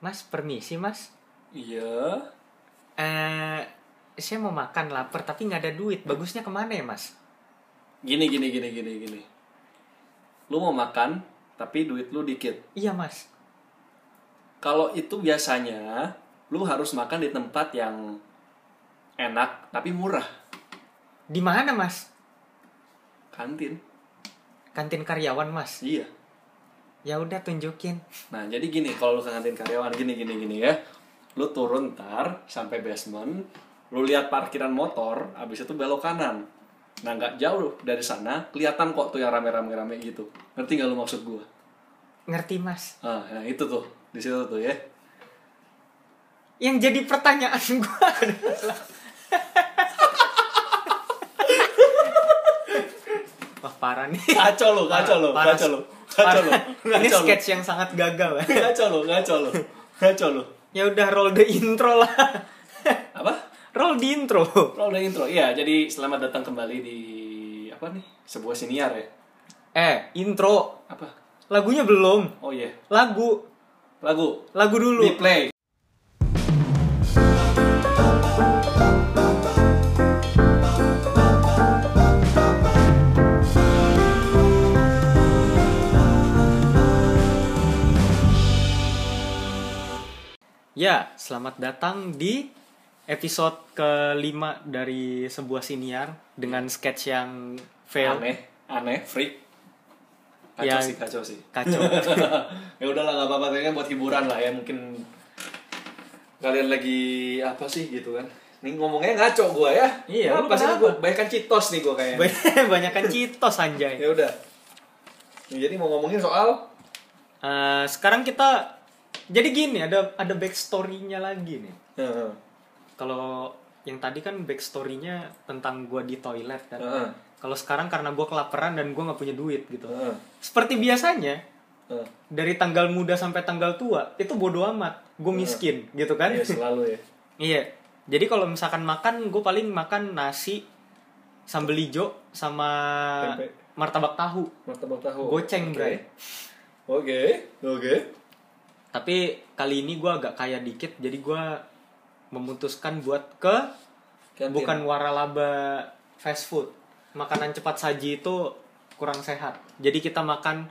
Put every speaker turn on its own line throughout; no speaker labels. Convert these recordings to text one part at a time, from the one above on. Mas, permisi mas.
Iya.
Eh, saya mau makan lapar tapi nggak ada duit. Bagusnya kemana ya mas?
Gini gini gini gini gini. Lu mau makan tapi duit lu dikit.
Iya mas.
Kalau itu biasanya lu harus makan di tempat yang enak tapi murah.
Di mana mas?
Kantin.
Kantin karyawan mas.
Iya.
Ya udah tunjukin.
Nah, jadi gini kalau lu ke kantin karyawan gini gini gini ya. Lu turun ntar sampai basement, lu lihat parkiran motor, abis itu belok kanan. Nah, nggak jauh dari sana, kelihatan kok tuh yang rame-rame-rame gitu. Ngerti nggak lu maksud gua?
Ngerti mas?
Ah, nah itu tuh, di situ tuh ya.
Yang jadi pertanyaan gua adalah. Wah parah nih.
Kacau lu, kacau lu,
Parah.
kacau lu. Kacau lu.
Parah. Ini
Kacau lu.
sketch yang sangat gagal. ya.
Kacau lu, kacau lu. Kacau lu.
Ya udah roll the intro lah.
Apa?
roll the intro.
Roll the intro. Iya, jadi selamat datang kembali di apa nih? Sebuah siniar ya.
Eh, intro.
Apa?
Lagunya belum.
Oh iya.
Lagu.
Lagu
Lagu dulu.
di play.
Ya, selamat datang di episode kelima dari sebuah siniar dengan sketch yang fail.
Aneh, aneh, freak. Kacau
Ya.
sih, kacau sih.
Kacau.
ya udahlah nggak apa-apa kayaknya buat hiburan lah ya mungkin kalian lagi apa sih gitu kan ini ngomongnya ngaco gua ya
Iya, lu
apa sih
kenapa?
gua banyakan citos nih gua kayaknya
Banyakan citos anjay.
ya udah Nah, jadi mau ngomongin soal
Eh, sekarang kita jadi gini ada ada backstory-nya lagi nih.
Heeh.
Kalau yang tadi kan backstory-nya tentang gua di toilet kan.
Heeh.
Kalau sekarang karena gua kelaparan dan gua nggak punya duit gitu.
Heeh.
Seperti biasanya
Heeh.
dari tanggal muda sampai tanggal tua itu bodo amat. Gue miskin gitu kan.
ya selalu ya
Iya. Jadi kalau misalkan makan, gue paling makan nasi sambel ijo sama
Tempe.
martabak tahu.
martabak tahu
Goceng,
Oke.
bray.
oke oke
Tapi kali ini gue agak kaya dikit, jadi gue memutuskan buat ke
Kantin.
bukan waralaba fast food. Makanan cepat saji itu kurang sehat. Jadi kita makan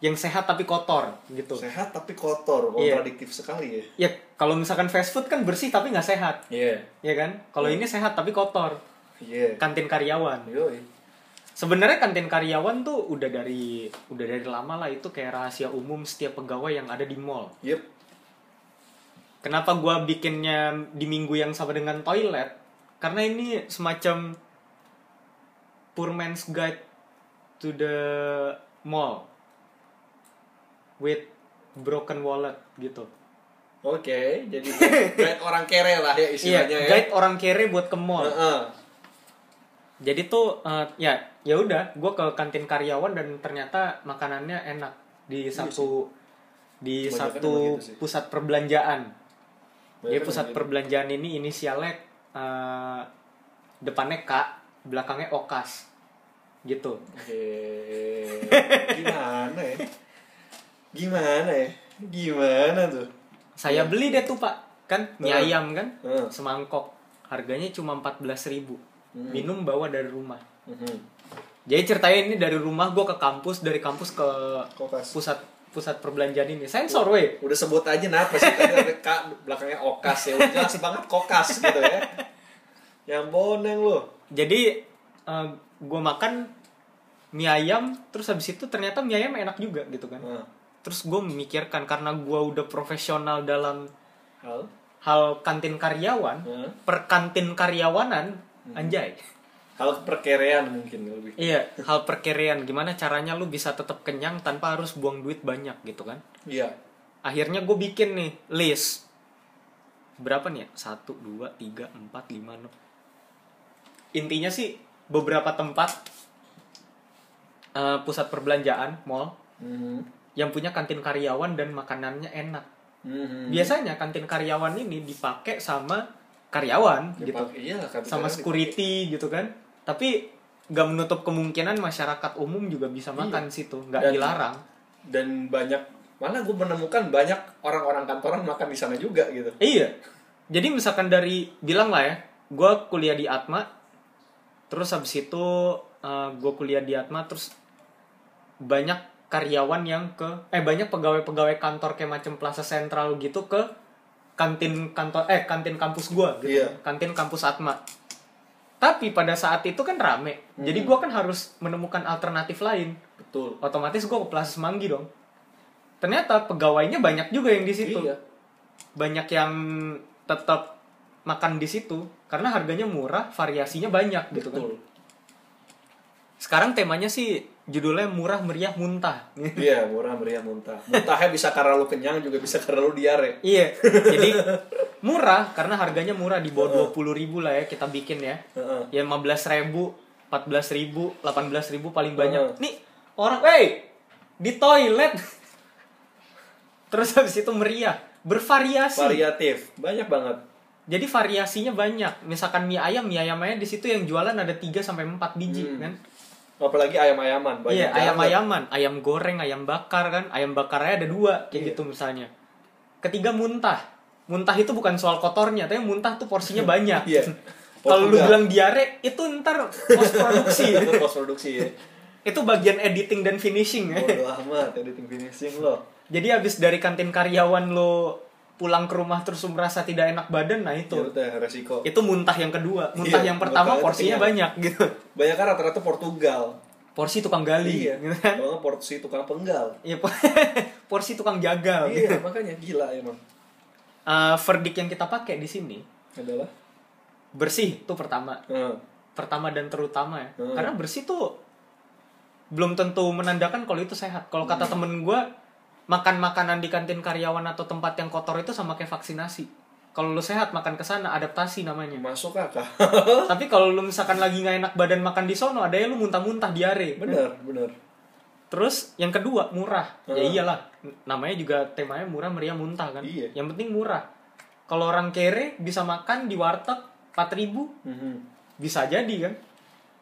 yang sehat tapi kotor gitu.
sehat tapi kotor
Iya.
kontradiktif sekali
Ya
ya
kalau misalkan fast food kan bersih tapi nggak sehat,
iya
ya kan? Kalau ini sehat tapi kotor.
iya
Kantin karyawan.
Yoi.
Sebenarnya kantin karyawan tuh udah dari udah dari lama lah itu kayak rahasia umum setiap pegawai yang ada di mall.
yep
Kenapa gua bikinnya di minggu yang sama dengan toilet? Karena ini semacam poor man's guide to the mall with broken wallet gitu.
oke jadi guide orang kere lah
Iya,
ya istilahnya ya
guide orang kere buat ke mall.
Heeh.
Jadi tuh eh, ya ya udah, gue ke kantin karyawan dan ternyata makanannya enak di satu di
Iya Kebanyakan emang
satu
gitu sih.
pusat perbelanjaan. Jadi
Kebanyakan
pusat
emang gitu.
perbelanjaan ini inisialnya eh, depannya K, belakangnya Okas. Gitu.
Oke. Gimana ya? Gimana ya? Gimana tuh?
Saya beli deh tuh, Pak. Kan mie
Iya. Heeh.
ayam kan?
Heeh.
Semangkok. Harganya cuma 14.000.
Hmm.
Minum bawa dari rumah.
Mhm.
Jadi ceritanya ini dari rumah gue ke kampus, dari kampus ke
Kokas.
pusat pusat perbelanjaan ini. Sensor weh.
Udah sebut aja napa sih tadi ada K, belakangnya okas ya. Udah jelas banget kokas gitu ya. Yang boneng lo.
Jadi eh, gue makan mie ayam, terus habis itu ternyata mie ayam enak juga gitu kan.
Nah.
Terus gue memikirkan karena gue udah profesional dalam
Hal.
hal kantin karyawan,
Nah.
perkantin karyawanan, anjay.
Hal perkerean mungkin lebih.
Iya, hal perkerian gimana caranya lu bisa tetap kenyang tanpa harus buang duit banyak gitu kan.
Iya.
akhirnya gue bikin nih list berapa nih ya? satu dua tiga empat lima enam intinya sih beberapa tempat eh, pusat perbelanjaan mall
Mhm.
yang punya kantin karyawan dan makanannya enak
Mhm.
biasanya kantin karyawan ini dipakai sama karyawan gitu
Dipak- Iya, kan
sama
sekarang
security gitu kan tapi gak Iya. menutup kemungkinan masyarakat umum juga bisa makan situ nggak
Dan-
dilarang
dan banyak Malah gue menemukan banyak orang-orang kantoran makan di sana juga gitu.
Iya. Jadi misalkan dari bilang lah ya, gue kuliah di Atma, terus habis itu gue kuliah di Atma, terus banyak karyawan yang ke eh banyak pegawai-pegawai kantor kayak macam Plaza Sentral gitu ke kantin kantor eh kantin kampus gue gitu,
Iya.
kantin kampus Atma. Tapi pada saat itu kan rame,
Hmm.
jadi gue kan harus menemukan alternatif lain.
Betul.
Otomatis gue ke Plaza Semanggi dong. Ternyata pegawainya banyak juga yang di situ
Iya.
banyak yang tetap makan di situ karena harganya murah, variasinya banyak gitu kan.
Betul.
Sekarang temanya sih judulnya murah meriah muntah.
Iya, murah meriah muntah. Muntahnya bisa karena lu kenyang juga bisa karena lu diare.
iya. Jadi murah karena harganya murah di bawah 20.000 lah ya kita bikin ya.
Heeh.
Ya 15.000, 14.000, 18.000 paling banyak.
Heeh.
Nih orang wey di toilet. Terus habis itu meriah, bervariasi.
Variatif, banyak banget.
Jadi variasinya banyak. Misalkan mie ayam, mie ayam aja di situ yang jualan ada 3 sampai 4 biji
Hmm.
kan.
Apalagi ayam-ayaman banyak.
Iya,
banget.
ayam-ayaman, ayam goreng, ayam bakar kan. Ayam bakarnya ada dua
Iya.
kayak gitu misalnya. Ketiga muntah. Muntah itu bukan soal kotornya, tapi muntah tuh porsinya banyak.
Iya.
Kalau lu
Portugal.
bilang diare, itu ntar post produksi.
Itu post produksi ya.
itu bagian editing dan finishing. ya.
Bodoh amat editing finishing lo.
Jadi habis dari kantin karyawan lo pulang ke rumah terus lu merasa tidak enak badan, nah
Itu
itu.
teh resiko.
Itu muntah yang kedua. Muntah
Iya,
yang pertama
muntah
porsinya
yang-
banyak gitu.
Banyak kan rata-rata Portugal.
porsi tukang gali
Iya.
gitu kan
Kalau nggak porsi tukang penggal.
Iya, po- porsi tukang jagal gitu.
Iya, makanya gila emang.
Eh, verdict yang kita pakai di sini
Adalah. eh,
bersih itu pertama
Heeh.
pertama dan terutama ya
Hmm.
karena bersih tuh belum tentu menandakan kalau itu sehat kalau kata
Hmm.
temen gue makan makanan di kantin karyawan atau tempat yang kotor itu sama kayak vaksinasi kalau lu sehat makan ke sana adaptasi namanya
Masuk akal.
tapi kalau lu misalkan lagi nggak enak badan makan di sono ada lu muntah-muntah diare
bener, bener.
Terus yang kedua murah. Ya
Heeh.
iyalah. Namanya juga temanya murah meriah muntah kan.
Iya.
Yang penting murah. Kalau orang kere bisa makan di warteg 4000
Mhm.
bisa jadi kan.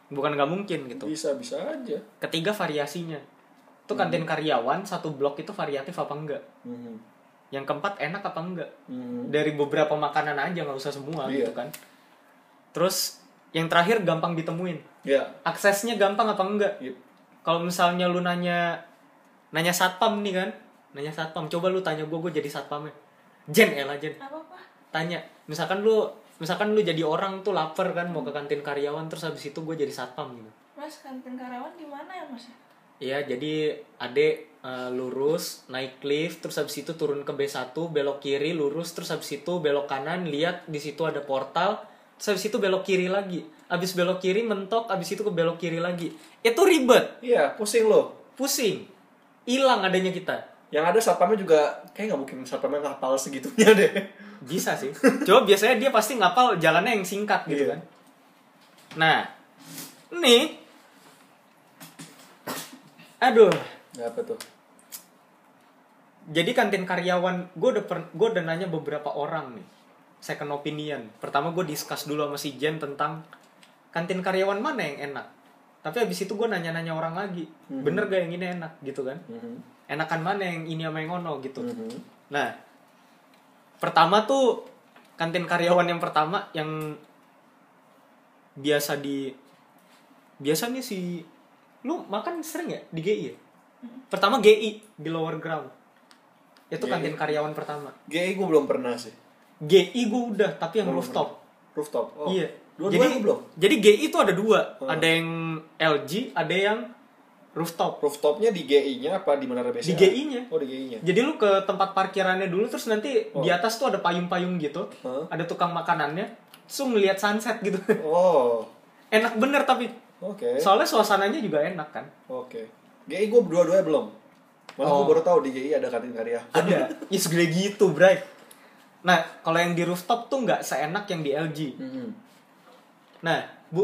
Bukan nggak mungkin gitu.
Bisa bisa aja.
Ketiga variasinya. Itu
Hmm.
kantin karyawan satu blok itu variatif apa enggak?
Mhm.
Yang keempat enak apa enggak?
Mhm.
Dari beberapa makanan aja nggak usah semua
Iya.
gitu kan. Terus yang terakhir gampang ditemuin.
Ya. Iya.
Aksesnya gampang apa enggak?
Yep.
kalau misalnya lu nanya nanya satpam nih kan nanya satpam coba lu tanya gue gue jadi satpamnya Jen elah Jen
apa-apa
tanya misalkan lu misalkan lu jadi orang tuh lapar kan mau ke kantin karyawan terus habis itu gue jadi satpam gitu
mas kantin karyawan di mana ya mas
Iya jadi adek eh, lurus naik lift terus habis itu turun ke B1 belok kiri lurus terus habis itu belok kanan lihat di situ ada portal terus habis itu belok kiri lagi habis belok kiri mentok habis itu ke belok kiri lagi itu ribet
Iya, pusing lo.
pusing hilang adanya kita
Yang ada satpamnya juga kayak nggak mungkin satpamnya ngapal segitunya deh.
bisa sih coba biasanya dia pasti ngapal jalannya yang singkat gitu
Iya.
kan nah nih aduh
Nggak apa tuh?
jadi kantin karyawan gue udah per, gue udah nanya beberapa orang nih second opinion pertama gue discuss dulu sama si Jen tentang kantin karyawan mana yang enak tapi abis itu gue nanya-nanya orang lagi
Mhm.
bener gak yang ini enak gitu kan
Mhm.
enakan mana yang ini sama yang ono gitu
Mhm.
Nah, pertama tuh kantin karyawan yang pertama yang biasa di biasa nih si lu makan sering ya di GI ya? Pertama GI di lower ground. Itu
GI.
kantin karyawan pertama.
GI gue belum pernah sih.
GI gue udah tapi yang
Belum
rooftop.
Rooftop. Oh.
Iya.
Dua-dua
jadi
gue belum.
Jadi GI itu ada dua,
Hmm.
ada yang LG, ada yang rooftop.
Rooftopnya di GI-nya apa di Menara
Di
BCA?
GI-nya.
Oh, di GI-nya.
Jadi lu ke tempat parkirannya dulu terus nanti
Oh.
di atas tuh ada payung-payung gitu.
Hah?
Ada tukang makanannya. Terus lu ngeliat sunset gitu.
Oh.
enak bener tapi.
Oke.
Soalnya suasananya juga enak kan.
Oke. GI gue dua-duanya belum. Malah gue
Oh.
baru tahu di GI ada kantin karya.
Ada. ya segede gitu, Bray. Nah, kalau yang di rooftop tuh nggak seenak yang di LG.
Mhm.
Nah, Bu,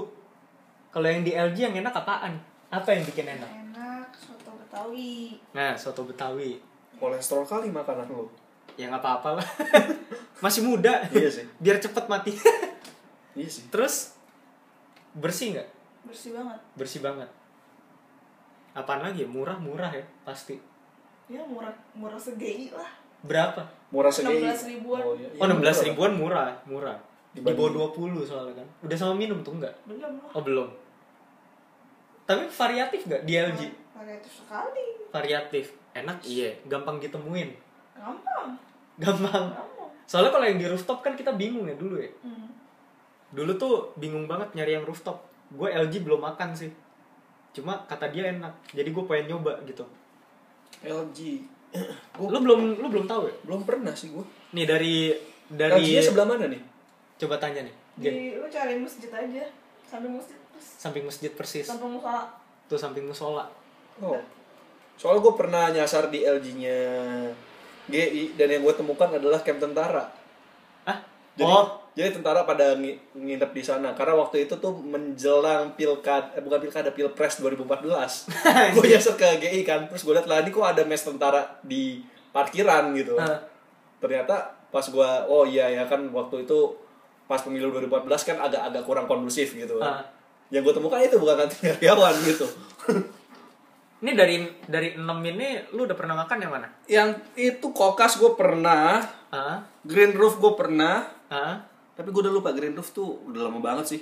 kalau yang di LG yang enak apaan? Apa yang bikin enak?
enak soto betawi
Nah, soto Betawi.
Kolesterol kali makanan lu.
Yang apa-apa lah. Masih muda.
Iya sih.
Biar cepet mati.
Iya sih.
Terus bersih nggak?
bersih banget
bersih banget apaan lagi ya? murah murah ya pasti
ya murah murah segei lah
Berapa?
Murah segini.
16 ribuan.
iya.
Oh, 16 ribuan murah, murah. Di
Dibanding-
bawah 20 soalnya kan. Udah sama minum tuh enggak?
belum lah
Oh, belum. Tapi variatif nggak di LG?
variatif sekali
Variatif. Enak, iya. Gampang ditemuin.
gampang
Gampang.
gampang
Soalnya kalau yang di rooftop kan kita bingung ya dulu ya.
hmm.
Dulu tuh bingung banget nyari yang rooftop. Gue LG belum makan sih. Cuma kata dia enak. Jadi gue pengen nyoba gitu.
LG. Gua
Lu belum lu belum tahu ya?
belum pernah sih gua.
Nih dari
LG-nya
dari
sebelah mana nih?
coba tanya nih. Gen,
di lu cari masjid aja sambil masjid terus
samping masjid persis.
sampai musola
Tuh samping musola.
Oh. Soalnya gue pernah nyasar di LG-nya GI dan yang gue temukan adalah camp tentara.
Ah?
Jadi,
oh,
jadi tentara pada ngi- nginep di sana karena waktu itu tuh menjelang pilkada eh, bukan pilkada pilpres 2014. gue nyasar ke GI kan, terus gue liat lah ini kok ada mes tentara di parkiran gitu.
Hah.
Ternyata pas gue oh iya ya kan waktu itu pas pemilu 2014 kan agak-agak kurang kondusif gitu.
Hah.
Yang gue temukan itu bukan kantin karyawan gitu.
Ini dari dari 6 ini lu udah pernah makan yang mana?
yang itu kokas gue pernah
Ah,
green roof gue pernah
ah.
tapi gue udah lupa green roof tuh udah lama banget sih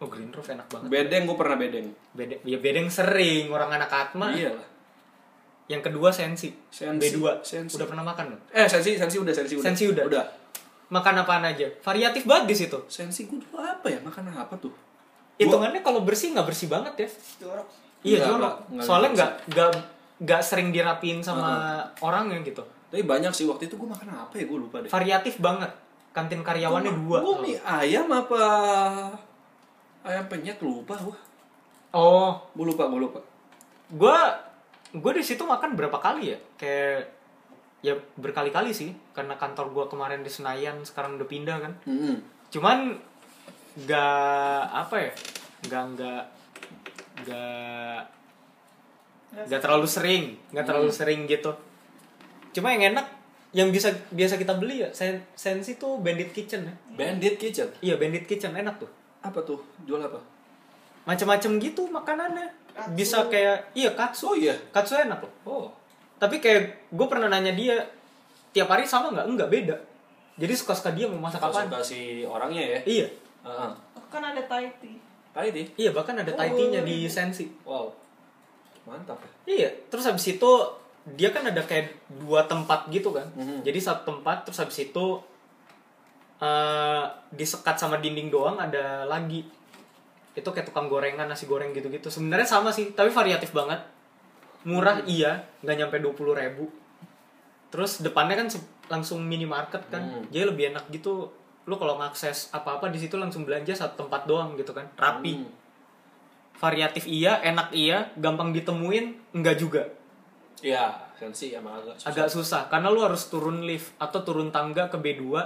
Oh, Green Roof enak banget.
bedeng gue pernah bedeng
Bedeng, ya bedeng sering orang anak Atma.
iya lah
Yang kedua Sensi.
Sensi,
B2.
Sensi.
Udah pernah makan belum?
eh sensi sensi udah sensi udah
Sensi udah.
udah
Makan apaan aja? Variatif banget di situ.
sensi gue dulu apa ya makan apa tuh
Hitungannya kalau bersih nggak bersih banget ya.
jorok
Iya,
Nggak,
jorok.
nggak, gitu nggak
Soalnya
bersih.
nggak nggak nggak sering dirapiin sama orang yang gitu.
tapi banyak sih waktu itu gue makan apa ya gue lupa deh
Variatif banget. Kantin karyawannya dua.
gue mie ayam apa ayam penyet lupa gue
Oh,
gue lupa gue lupa
gue gue di situ makan berapa kali ya kayak ya berkali-kali sih karena kantor gue kemarin di Senayan sekarang udah pindah kan
Mm-mm.
cuman nggak apa ya nggak nggak nggak nggak terlalu sering nggak terlalu sering gitu cuma yang enak yang bisa biasa kita beli ya sen sensi tuh bandit kitchen ya
bandit kitchen
iya bandit kitchen enak tuh
apa tuh jual apa
macam-macam gitu makanannya
Katsu.
bisa kayak iya katsu
oh iya
katsu enak loh
oh
tapi kayak gue pernah nanya dia tiap hari sama nggak enggak beda jadi suka suka dia mau masak apaan
kasih orangnya ya
iya
Heeh.
kan ada Thai tea
Tadi deh.
iya bahkan ada Thai tea-nya di sensi
Wow. Mantap ya.
iya terus habis itu dia kan ada kayak dua tempat gitu kan
Mhm.
jadi satu tempat terus habis itu eh disekat sama dinding doang ada lagi itu kayak tukang gorengan nasi goreng gitu-gitu sebenarnya sama sih tapi variatif banget murah iya nggak nyampe dua puluh ribu terus depannya kan se- langsung minimarket kan
Hmm.
jadi lebih enak gitu lu kalau ngakses apa-apa di situ langsung belanja satu tempat doang gitu kan rapi
Hmm.
variatif iya enak iya gampang ditemuin enggak juga
Iya, sensi emang agak susah.
agak susah karena lu harus turun lift atau turun tangga ke B2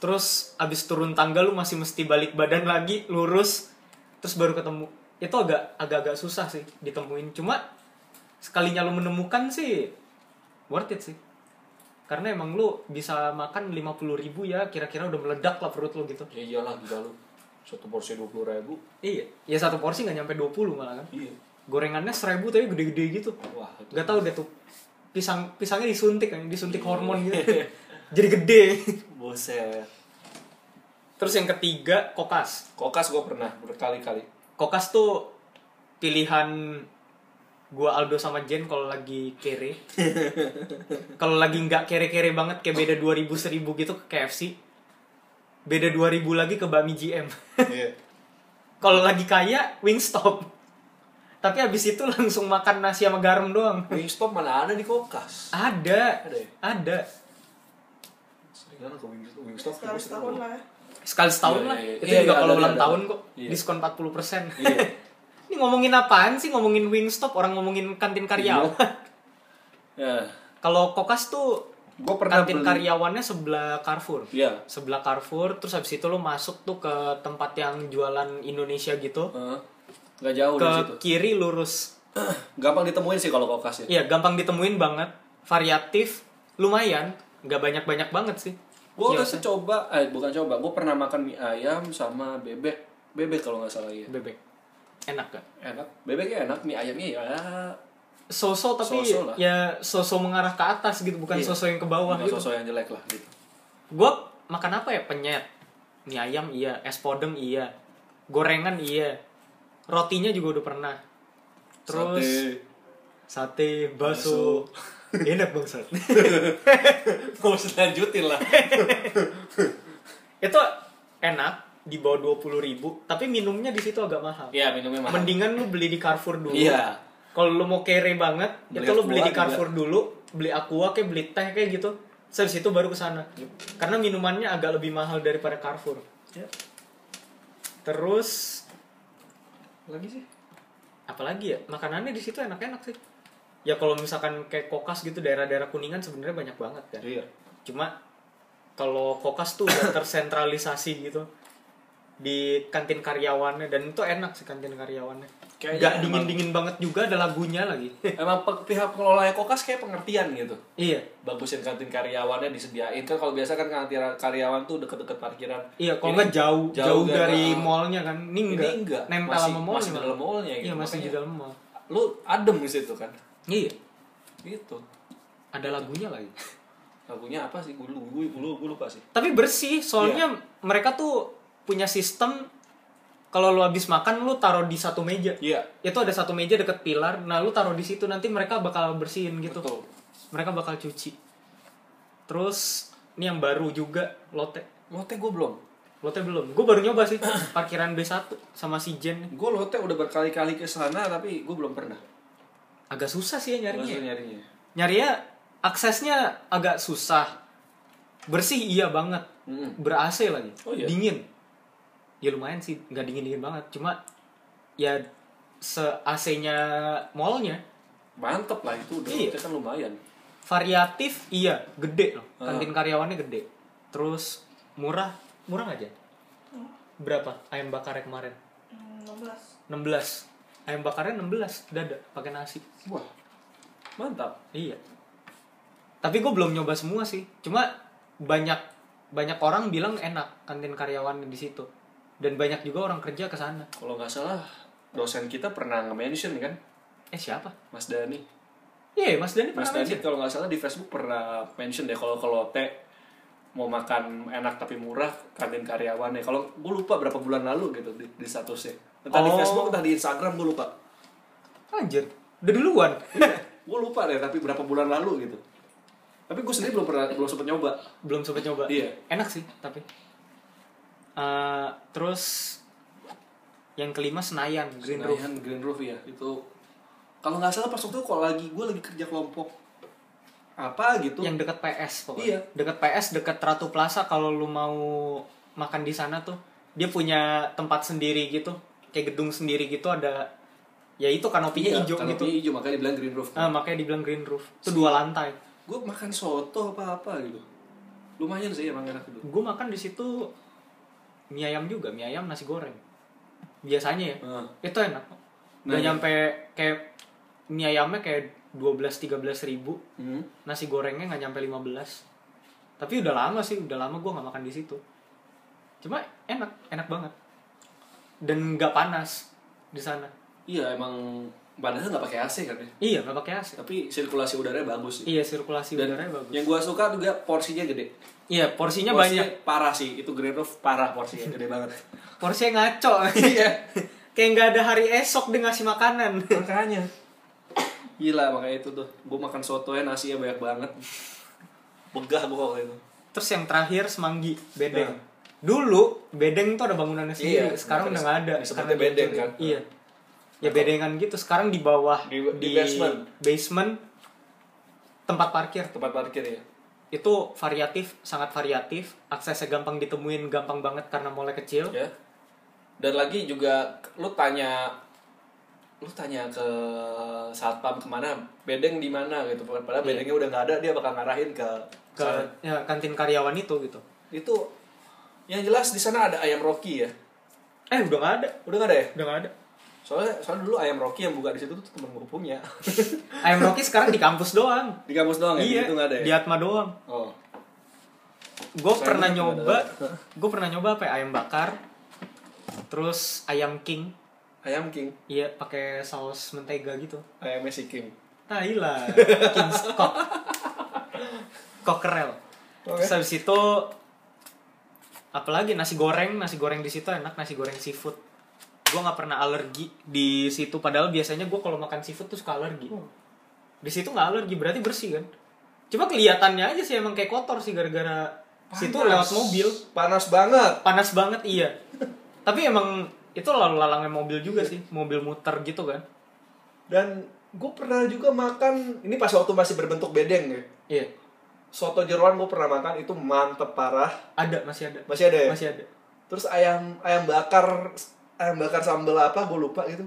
terus abis turun tangga lu masih mesti balik badan lagi lurus terus baru ketemu itu agak agak agak susah sih ditemuin cuma sekalinya lu menemukan sih worth it sih karena emang lu bisa makan 50.000 ribu ya kira-kira udah meledak lah perut lu gitu
Ya iyalah gila lu. Satu porsi 20 ribu.
iya ya satu porsi nggak nyampe 20 malah kan
Iya.
gorengannya 1000 tapi gede-gede gitu
Wah, itu.
Gak tau deh tuh pisang pisangnya disuntik kan, disuntik hormon gitu. Jadi gede.
Buset.
Terus yang ketiga kokas.
Kokas gue pernah berkali-kali.
Kokas tuh pilihan gua Aldo sama Jen kalau lagi kere. kalau lagi nggak kere-kere banget kayak beda 2000 1000 gitu ke KFC. Beda 2000 lagi ke Bami GM.
Iya.
kalau lagi kaya Wingstop. Tapi abis itu langsung makan nasi sama garam doang.
Wingstop mana ada di Kokas?
Ada.
Ada ya?
Ada.
Seringan ke Wing- Wingstop.
sekali
terus
setahun lah ya.
sekali setahun
Iya,
lah.
iya, iya.
Itu
Iya,
juga
iya,
kalau
ada,
ulang
ada,
tahun
ada.
kok
Iya.
diskon 40 persen.
Iya.
Ini ngomongin apaan sih? Ngomongin Wingstop, orang ngomongin kantin
Iya.
karyawan.
Ya.
kalau kokas tuh
Gue pernah
kantin
beli.
karyawannya sebelah Carrefour.
Iya.
Sebelah Carrefour, terus habis itu lo masuk tuh ke tempat yang jualan Indonesia gitu.
Heeh. Gak jauh
ke
dari Oh, situ.
kiri lurus.
Gampang ditemuin sih kalau Kokas ya.
Iya, gampang ditemuin banget. Variatif, lumayan. Nggak banyak-banyak banget sih.
Gue
Iya,
udah coba, eh bukan coba, gue pernah makan mie ayam sama bebek. Bebek kalau nggak salah ya.
Bebek. Enak kan? gak?
Enak. Bebeknya enak, mie ayamnya ya
sosok tapi
So-so lah.
ya sosok mengarah ke atas gitu bukan
Iya.
sosok yang ke bawah
Nggak
gitu
sosok yang jelek lah gitu.
gue makan apa ya penyet mie ayam iya es podeng iya gorengan iya rotinya juga udah pernah terus
Sate.
sate, bakso enak banget
Nggak usah lanjutin lah.
itu enak di bawah 20.000 ribu tapi minumnya di situ agak mahal
Iya minumnya mahal.
mendingan lu beli di Carrefour dulu
Iya.
kalau lu mau kere banget
Beli
itu lu beli di
aqua
Carrefour dulu beli aqua kayak beli teh kayak gitu Terus dari situ baru ke sana karena minumannya agak lebih mahal daripada Carrefour
Ya,
terus
Lagi sih.
apalagi ya makanannya di situ enak-enak sih ya kalau misalkan kayak kokas gitu daerah-daerah kuningan sebenarnya banyak banget kan
Iya.
cuma kalau kokas tuh udah tersentralisasi gitu di kantin karyawannya dan itu enak sih kantin karyawannya
Kayaknya
gak
emang-
dingin dingin banget juga ada lagunya lagi
Emang pe- pihak pengelola kokas kayak pengertian gitu.
iya
Bagusin kantin karyawannya disediain kan kalau biasa kan kantin karyawan tuh deket-deket parkiran.
iya kalau
Ini
nggak jauh jauh,
jauh kan,
dari
ah.
mallnya kan ini
Ini
enggak,
enggak.
nempel
Masih-
sama mall
masih dalam mallnya gitu,
iya masih di
makanya.
dalam mall
Lu adem di situ kan.
iya
Gitu.
ada lagunya lagi
Lagunya apa sih? Gue gue gue lupa sih.
tapi bersih
Iya.
soalnya mereka tuh punya sistem kalau lu habis makan lu taruh di satu meja
Iya.
itu ada satu meja deket pilar nah lu taruh di situ nanti mereka bakal bersihin gitu
Betul.
mereka bakal cuci terus ini yang baru juga lote
Lote gue belum.
lote belum gue baru nyoba sih parkiran B1 sama si Jen
Gue lote udah berkali-kali ke sana tapi gue belum pernah.
agak susah sih ya
Terus
nyarinya
nyarinya.
nyarinya ya, aksesnya agak susah bersih iya banget
Mm-mm.
ber AC lagi
Oh iya?
dingin ya lumayan sih nggak dingin dingin banget cuma ya se AC nya mallnya
Mantep lah itu udah.
Iya.
Lote kan lumayan.
variatif iya gede loh
Ah.
kantin karyawannya gede terus murah murah nggak aja
Oh.
berapa ayam bakarnya kemarin
Hmm, 16
16 ayam bakarnya 16 dada pakai nasi
Wah. Mantap.
iya tapi gue belum nyoba semua sih cuma banyak banyak orang bilang enak kantin karyawan di situ dan banyak juga orang kerja ke sana
Kalau nggak salah dosen kita pernah nge-mention kan
eh siapa
Mas Dani.
iya mas Dani
Mas
pernah
Dani
mention
kalau nggak salah di Facebook pernah mention deh kalau kalau teh mau makan enak tapi murah kantin karyawannya. Kalau gue lupa berapa bulan lalu gitu di, di statusnya. Entah di
Oh.
Facebook, entah di Instagram gue lupa.
anjir udah duluan
Gue lupa deh tapi berapa bulan lalu gitu. Tapi gue sendiri belum pernah belum sempet nyoba.
belum sempat nyoba
Iya.
enak sih tapi Eh, terus yang kelima Senayan Green Roof
Senayan, Green Roof ya itu. Kalau nggak salah pas waktu itu kalau lagi gue lagi kerja kelompok apa gitu.
yang dekat PS pokoknya
Iya.
dekat PS dekat Ratu Plaza kalau lu mau makan di sana tuh dia punya tempat sendiri gitu kayak gedung sendiri gitu ada ya itu kanopinya hijau gitu
iya, Hijau makanya dibilang Green Roof.
Ah, makanya dibilang Green Roof itu dua lantai
gue makan soto apa apa gitu lumayan sih emang enak gitu. itu
gue makan di situ mie ayam juga mie ayam nasi goreng biasanya ya
Ah.
itu enak
Nah,
nggak
iya.
nyampe kayak mie ayamnya kayak 12-13 ribu
hmm.
nasi gorengnya nggak nyampe 15 tapi udah lama sih udah lama gue nggak makan di situ cuma enak enak banget dan nggak panas di sana
iya emang padahal nggak pakai AC kan ya
iya nggak pakai AC
tapi sirkulasi udaranya bagus sih
iya sirkulasi
Dan
udaranya bagus
yang gue suka juga porsinya gede
iya porsinya
Porsinya
banyak
parah sih itu Green Roof parah porsinya gede banget
porsinya ngaco
iya
kayak nggak ada hari esok dia ngasih makanan
makanya gila makanya itu tuh gue makan sotonya nasinya banyak banget begah gue kalau itu
terus yang terakhir semanggi bedeng
Nah.
dulu bedeng tuh ada bangunannya sendiri
Iya,
sekarang udah
makanya
nggak ada
disebutnya
Sekarang
bedeng,
gitu.
kan?
iya ya bedengan gitu sekarang di bawah
Di- di basement.
basement tempat parkir
tempat parkir ya
itu variatif sangat variatif aksesnya gampang ditemuin gampang banget karena mulai kecil
ya dan lagi juga lu tanya lu tanya ke satpam kemana bedeng di mana gitu padahal bedengnya udah nggak ada dia bakal ngarahin ke,
Iya. ke
sana.
ya, kantin karyawan itu gitu
itu yang jelas di sana ada ayam Rocky ya
eh udah nggak ada
udah nggak ada ya
udah nggak ada
soalnya soalnya dulu ayam Rocky yang buka di situ tuh temen gue punya
ayam Rocky sekarang di kampus doang
di kampus doang ya
iya
itu nggak ada ya
di Atma doang
oh
gue
Saya
pernah
juga
nyoba
pernah.
gue pernah nyoba apa ya, ayam bakar terus ayam king
ayam King
iya pakai saus mentega gitu
ayam Messi King
Thailand King's Cock Cockerel
Oke.
terus habis itu apalagi nasi goreng nasi goreng di situ enak nasi goreng seafood gue nggak pernah alergi di situ padahal biasanya gue kalau makan seafood tuh suka alergi
Oh,
di situ nggak alergi berarti bersih kan cuma kelihatannya aja sih emang kayak kotor sih gara-gara situ lewat mobil
Panas banget.
panas banget iya tapi emang itu lalu lalangnya mobil juga sih mobil muter gitu kan
Dan gue pernah juga makan, ini pas waktu masih berbentuk bedeng ya.
iya
Soto jeroan gue pernah makan, itu mantep parah.
ada masih ada
Masih ada ya?
masih ada
Terus ayam ayam bakar, ayam bakar sambal apa, gue lupa gitu.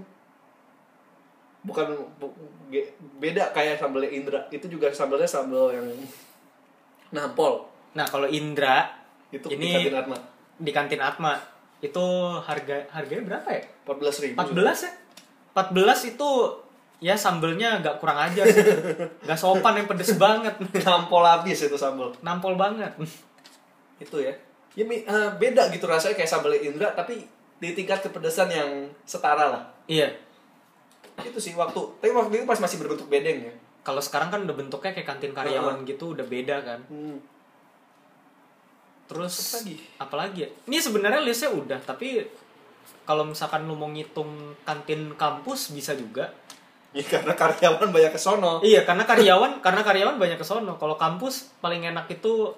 Bukan, bu- ge- beda kayak sambelnya Indra. Itu juga sambelnya sambel yang nampol.
nah kalau Indra
Itu
Ini-
ini... di Atma.
di kantin Atma itu harga harganya berapa ya
14 ribu.
14 ya 14 itu ya sambelnya agak kurang ajar sih nggak sopan yang pedes banget
Nampol habis itu sambel.
nampol banget
itu ya ya mi- eh, beda gitu rasanya kayak sambal Indra tapi di tingkat kepedesan yang setara lah
iya
itu sih waktu tapi waktu itu pas masih berbentuk bedeng ya
kalau sekarang kan udah bentuknya kayak kantin karyawan gitu udah beda kan
hmm.
Terus
Apalagi?
apalagi ya? Ini sebenarnya listnya udah, tapi kalau misalkan lu mau ngitung kantin kampus bisa juga.
ya karena karyawan banyak kesono
Iya, karena karyawan, karena karyawan banyak ke sono. Kalau kampus paling enak itu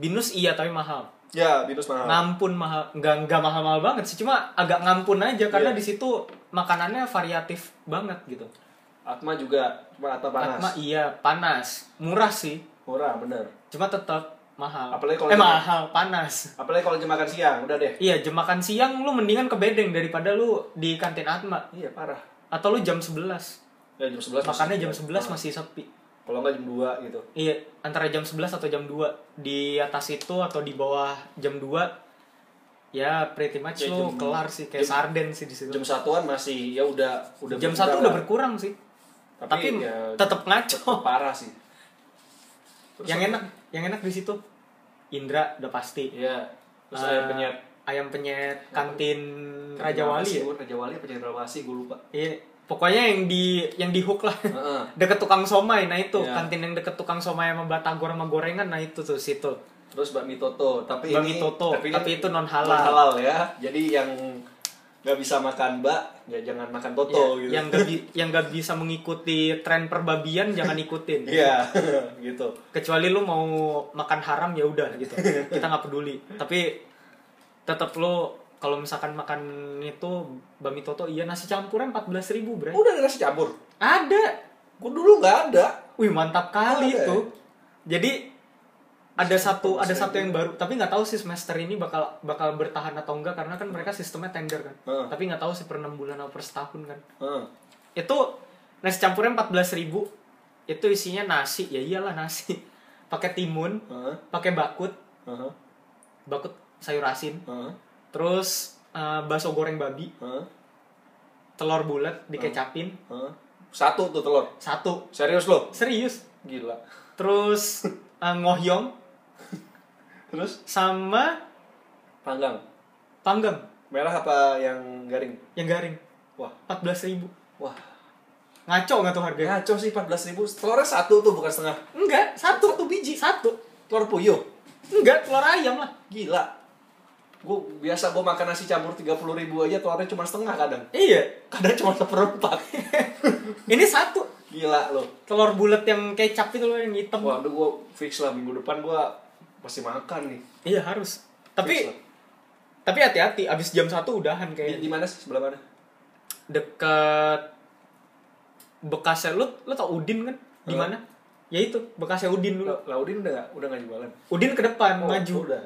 binus iya tapi mahal.
ya binus mahal
Ngampun mahal, nggak nggak mahal-mahal banget sih, cuma agak ngampun aja karena
Iya.
di situ makanannya variatif banget gitu.
Atma juga cuma Atma panas
Atma iya panas, murah sih,
murah bener
cuma tetap mahal.
Apalagi kalau
eh
di-
mahal, panas.
apalagi kalau jam makan siang udah deh
Iya, jam makan siang lu mendingan ke bedeng daripada lu di kantin Atma
iya parah
atau lu jam 11.
ya jam 11 masih-
Makannya jam 11
Ah.
masih sepi.
kalau nggak jam 2 gitu
Iya, antara jam 11 atau jam 2 di atas itu atau di bawah jam 2 ya pretty much
Ya,
lu
jam-
kelar sih kayak
jam-
sarden sih di situ.
jam satuan masih ya udah udah
Jam
berkurang
satu udah
lah.
berkurang sih.
tapi,
Tapi,
ya,
tetap ngaco.
tetep parah sih Terus
yang
apa?
enak, yang enak di situ Indra udah pasti.
iya
Eh,
terus ayam penyet
ayam penyet kantin Raja
Kenapa
Wali
sih
ya.
gua Raja Wali apa Jenderal Wasi gue lupa
Iya, pokoknya yang di yang di hook lah.
Heeh.
deket tukang somai nah itu
Iya.
kantin yang deket tukang somai sama batagor sama gorengan nah itu tuh situ
terus bakmi toto tapi
Bakmi
ini
Toto,
ini
tapi itu non halal.
non halal ya jadi yang nggak bisa makan bak ya jangan makan
Ya,
toto gitu
yang gak bi- yang gak bisa mengikuti tren perbabian jangan ikutin
iya gitu
kecuali lu mau makan haram ya udah gitu kita nggak peduli tapi tetap lu kalau misalkan makan itu bami toto iya nasi campuran 14.000 ribu bre
udah ada nasi campur
ada
gue dulu nggak ada
Wih mantap kali
Ada
itu. Jadi ada satu ada
Mas
satu
Randy.
yang baru, tapi nggak tahu sih semester ini bakal bakal bertahan atau enggak karena kan mereka sistemnya tender kan.
Heeh.
Tapi nggak tahu sih per 6 bulan atau per setahun kan.
Heeh.
Itu nasi campurnya 14.000. Itu isinya nasi, ya iyalah nasi. Pakai timun,
Heeh.
pakai bakut,
Heeh.
bakut sayur asin,
Heeh.
terus eh, bakso goreng babi,
Heeh.
telur bulat dikecapin
Heeh. satu tuh telur
satu.
serius lo
Serius.
gila
Terus eh, ngohyong
terus
sama
panggang
panggang
merah apa yang garing
yang garing
wah
14.000 ribu
wah
ngaco nggak tuh harganya
ngaco sih 14.000 ribu telurnya satu tuh bukan setengah
enggak satu satu biji satu
telur puyuh
enggak telur ayam lah
Gila. Gue biasa gue makan nasi campur 30 ribu aja telurnya cuma setengah kadang.
iya
Kadang cuma seperempat.
ini satu
Gila lo.
telur bulat yang kecap itu loh yang hitam
Waduh gue fix lah minggu depan gue pasti makan nih.
iya harus
Fix
tapi
lah.
tapi hati-hati abis jam satu udahan
di,
kayak
di mana sih sebelah mana?
dekat bekasnya lu lu tau udin kan di
Hah?
mana ya itu bekasnya udin dulu
La- Laudin udah gak, udah gak jualan.
udin ke depan
Oh,
maju
Udah.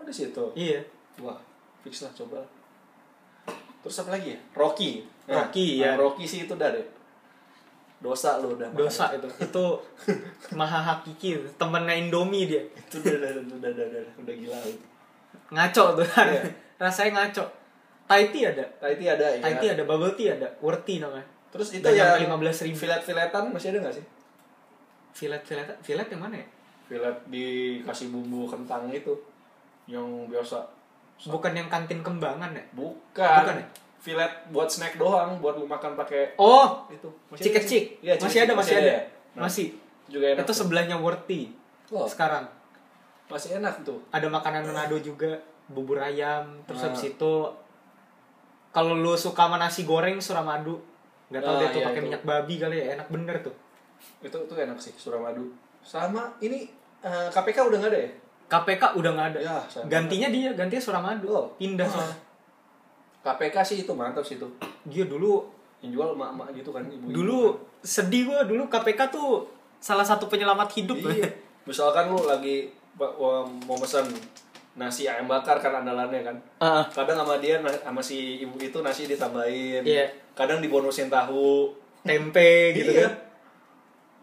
Oh di situ.
iya
Wah fix lah coba. lah. Terus apa lagi ya? Rocky.
Rocky, ya.
yang Rocky sih itu udah deh. Dosa lo udah. makan.
dosa itu itu maha hakiki temennya indomie dia
Itu udah udah udah udah udah, udah, udah gila. lo.
ngaco tuh kan
Iya.
rasanya ngaco Thai tea ada
Thai tea ada ya.
Thai tea Nah, ada bubble tea ada worthy namanya
Terus itu
Dan yang
yang
15.000.
Filet-filetan masih ada nggak sih?
filet filet filet yang mana ya
Filet dikasih bumbu kentang itu yang biasa.
bukan yang kantin kembangan ya
Bukan.
Bukan ya?
fillet buat snack doang buat lu makan pakai
Oh,
itu
Cik Cik.
Iya,
masih
cikecik,
ada, masih ada.
Nah,
Masih.
juga enak
Itu
tuh.
sebelahnya Worthy.
Oh.
Sekarang
masih enak tuh
ada makanan Manado juga, bubur ayam, terus
Ah.
habis itu kalau lu suka sama nasi goreng Suramadu, nggak tahu
Ah,
deh tuh
iya,
pakai
itu.
minyak babi kali ya, enak bener tuh.
itu itu enak sih suramadu sama ini eh, KPK udah nggak ada ya
KPK udah nggak ada.
Ya, sayang
gantinya dia, gantinya Suramadu.
Oh.
Pindah soalnya.
KPK sih itu mantap sih itu
Dia dulu
yang jual emak-emak gitu kan ibu
dulu sedih gua dulu KPK tuh salah satu penyelamat hidup.
Iya. Misalkan lu lagi ba- wa- mau pesan nasi ayam bakar kan andalannya kan.
Ah.
Kadang sama dia na- sama si ibu itu nasi ditambahin.
Iya.
Kadang dibonusin tahu
Tempe gitu
Iya.
kan.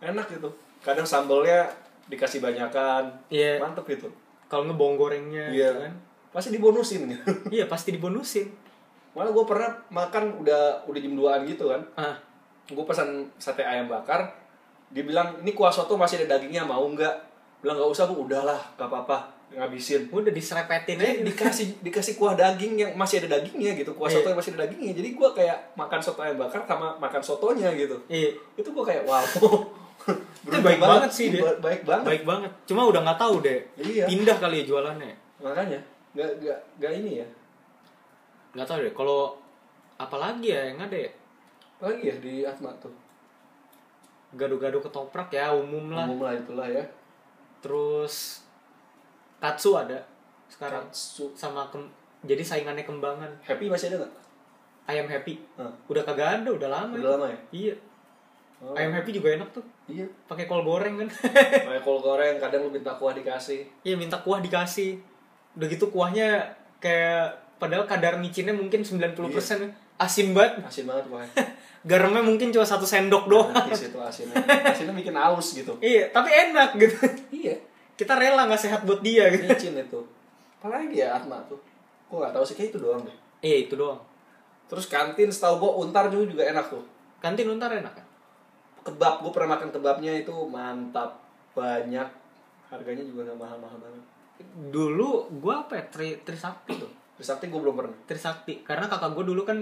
Enak gitu. Kadang sambelnya dikasih banyakan.
Iya.
Mantep gitu.
Kalau ngebong
Iya.
gorengnya gitu kan.
Pasti dibonusin.
Iya, pasti dibonusin.
Malah gue pernah makan udah udah jam 2-an gitu kan.
Ah.
gue pesan sate ayam bakar dia bilang ini kuah soto masih ada dagingnya mau nggak bilang nggak usah bu udahlah nggak apa-apa ngabisin
udah diserepetin aja
dia dikasih dikasih kuah daging yang masih ada dagingnya gitu kuah
Iya.
soto yang masih ada dagingnya jadi gue kayak makan soto ayam bakar sama makan sotonya gitu
Iya.
itu gue kayak wow
Itu
Beruntung
baik banget sih, dia.
Ba- baik banget
Baik banget. Cuma udah nggak tahu deh.
Iya.
Pindah kali ya jualannya.
makanya nggak nggak nggak ini ya
Nggak tahu deh. Kalau apalagi ya yang ada ya?
lagi ya di Atma tuh
Gado-gado ketoprak ya umum lah.
umum lah itulah ya
Terus katsu ada sekarang
Katsu.
sama kem- jadi saingannya kembangan
happy masih ada nggak
ayam happy
Hah.
udah kagak ada udah lama
udah lama ya
iya
Oh.
ayam happy juga enak tuh
iya
pakai kol goreng kan
kayak kol goreng kadang lu minta kuah dikasih
iya minta kuah dikasih udah gitu kuahnya kayak padahal kadar micinnya mungkin 90% ya. asin banget
asin banget kuahnya
garamnya mungkin cuma satu sendok doang
Nanti situ asinnya asinnya bikin aus gitu
iya tapi enak gitu
iya
kita rela nggak sehat buat dia gitu
micin itu apalagi ya Atma tuh gue gak tahu sih kayak itu doang deh
iya itu doang
terus kantin setahu gue untar juga juga enak tuh
kantin untar enak kan
kebab gue pernah makan kebabnya itu mantap banyak harganya juga gak mahal-mahal banget
dulu gua apa ya tri trisakti tuh
Trisakti gue belum pernah
trisakti karena kakak gua dulu kan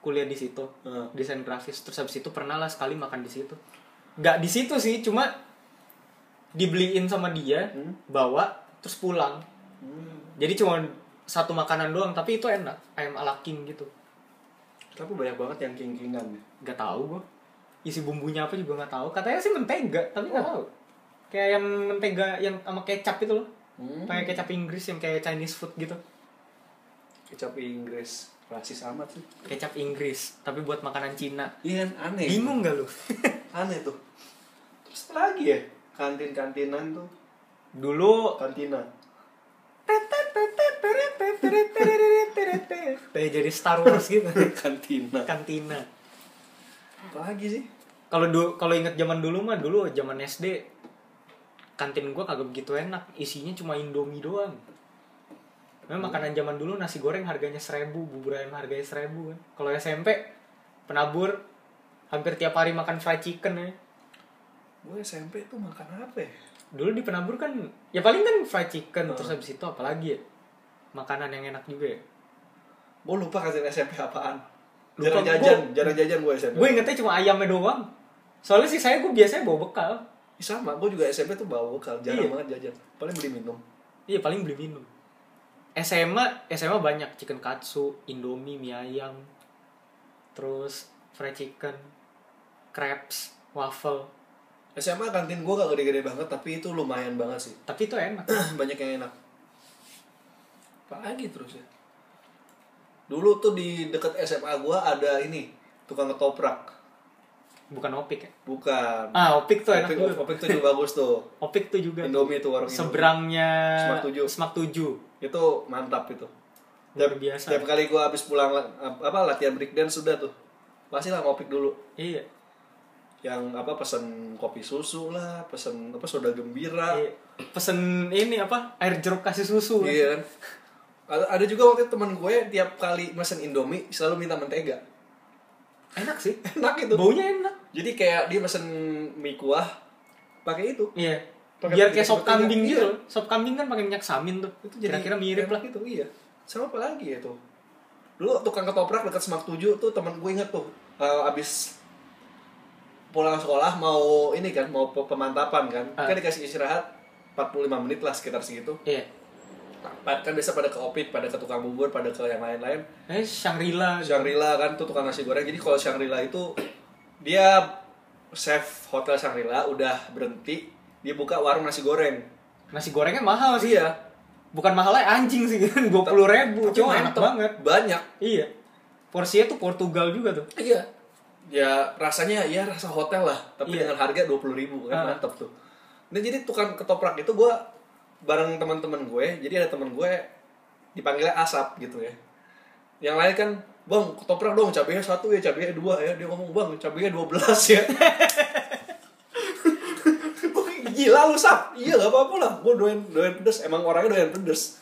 kuliah di situ
Hmm.
desain grafis terus habis itu pernah lah sekali makan di situ nggak di situ sih cuma dibeliin sama dia
Hmm.
bawa terus pulang jadi cuma satu makanan doang tapi itu enak ayam ala king gitu
tapi banyak banget yang king-kingan
nggak tahu gua isi bumbunya apa juga nggak tahu katanya sih mentega tapi nggak
Oh.
tahu kayak yang mentega yang sama kecap itu loh
Hmm.
pakai kecap Inggris yang kayak Chinese food gitu
kecap Inggris rasis amat sih
kecap Inggris tapi buat makanan Cina
iya kan aneh
bingung gak lu
aneh tuh terus apa lagi ya kantin kantinan tuh
dulu
kantina
kayak jadi Star Wars gitu
kantina
kantina
apa lagi sih
kalau du- kalau inget zaman dulu mah dulu zaman SD kantin gua kagak begitu enak isinya cuma indomie doang Memang makanan zaman dulu nasi goreng harganya seribu, bubur ayam harganya seribu kan. Kalau SMP penabur hampir tiap hari makan fried chicken ya.
gue SMP tuh makan apa ya?
Dulu di penabur kan ya paling kan fried chicken terus habis itu apalagi ya? Makanan yang enak juga ya.
gue lupa kantin SMP apaan
Lupa,
jarang jajan jarang jajan gue SMP
Gue ingetnya cuma ayamnya doang. Soalnya sih saya gue biasanya bawa bekal.
Ih, sama gue juga SMP tuh bawa bekal jarang
Iya.
banget jajan paling beli minum
Iya paling beli minum. SMA SMA banyak chicken katsu, indomie, mie ayam, terus fried chicken, crepes, waffle.
SMA kantin gue gak gede-gede banget tapi itu lumayan banget sih
Tapi itu enak.
banyak yang enak apa lagi terus ya dulu tuh di deket SMA gue ada ini tukang ketoprak
Bukan opik ya?
bukan
Ah opik tuh enak
Opik-
juga.
Opik tuh juga bagus tuh
Opik tuh juga.
Indomie tuh warung Indomie.
Seberangnya
Semak Tujuh.
Semak Tujuh.
itu mantap itu
Luar biasa.
tiap kali gua habis pulang la- apa latihan break dance sudah tuh pasti lah ngopik dulu
Iya.
yang apa pesen kopi susu lah pesen apa soda gembira
iya. Pesen ini apa? Air jeruk kasih susu. kan?
iya kan ada ada juga waktu itu teman gue tiap kali mesen indomie selalu minta mentega
Enak sih.
enak itu
Baunya enak.
jadi kayak dia mesen mie kuah pakai itu
Iya.
Pakai
Biar
minyak
kayak sop
sepertiga.
kambing
Iya. gitu.
gitu. loh. Sop kambing kan pakai minyak samin tuh.
itu jadi
Kira-kira mirip
enak
lah.
gitu iya sama apa lagi ya tuh dulu tukang ketoprak dekat Semak 7 tuh teman gue inget tuh eh, abis pulang sekolah mau ini kan mau pe- pemantapan kan
Ah.
kan dikasih istirahat 45 menit lah sekitar segitu
Iya.
Pa- kan biasa pada ke opit pada ke tukang bubur pada ke yang lain-lain
Eh, Shangri-La.
Shangri-La kan tuh tukang nasi goreng. Jadi kalau Shangri-La itu dia chef hotel Shangri-La udah berhenti, dia buka warung nasi goreng.
Nasi gorengnya mahal sih.
iya,
Bukan mahalnya anjing sih kan. 20 ribu.
tapi
Cuma enak
mantep.
banget.
Banyak.
Iya. Porsinya tuh Portugal juga tuh.
Iya. Ya rasanya ya rasa hotel lah, tapi
Iya.
dengan harga 20.000 ribu
Ah.
kan mantep tuh. Nah jadi tukang ketoprak itu gue bareng teman-teman gue, jadi ada teman gue dipanggilnya asap gitu ya. Yang lain kan, bang ketoprak dong, cabenya satu ya, cabenya dua ya. Dia ngomong, bang cabenya 12 ya. Gua kayak, Gila lu sap, iya gak apa-apa lah, gue doyan, doyan pedes, emang orangnya doyan pedes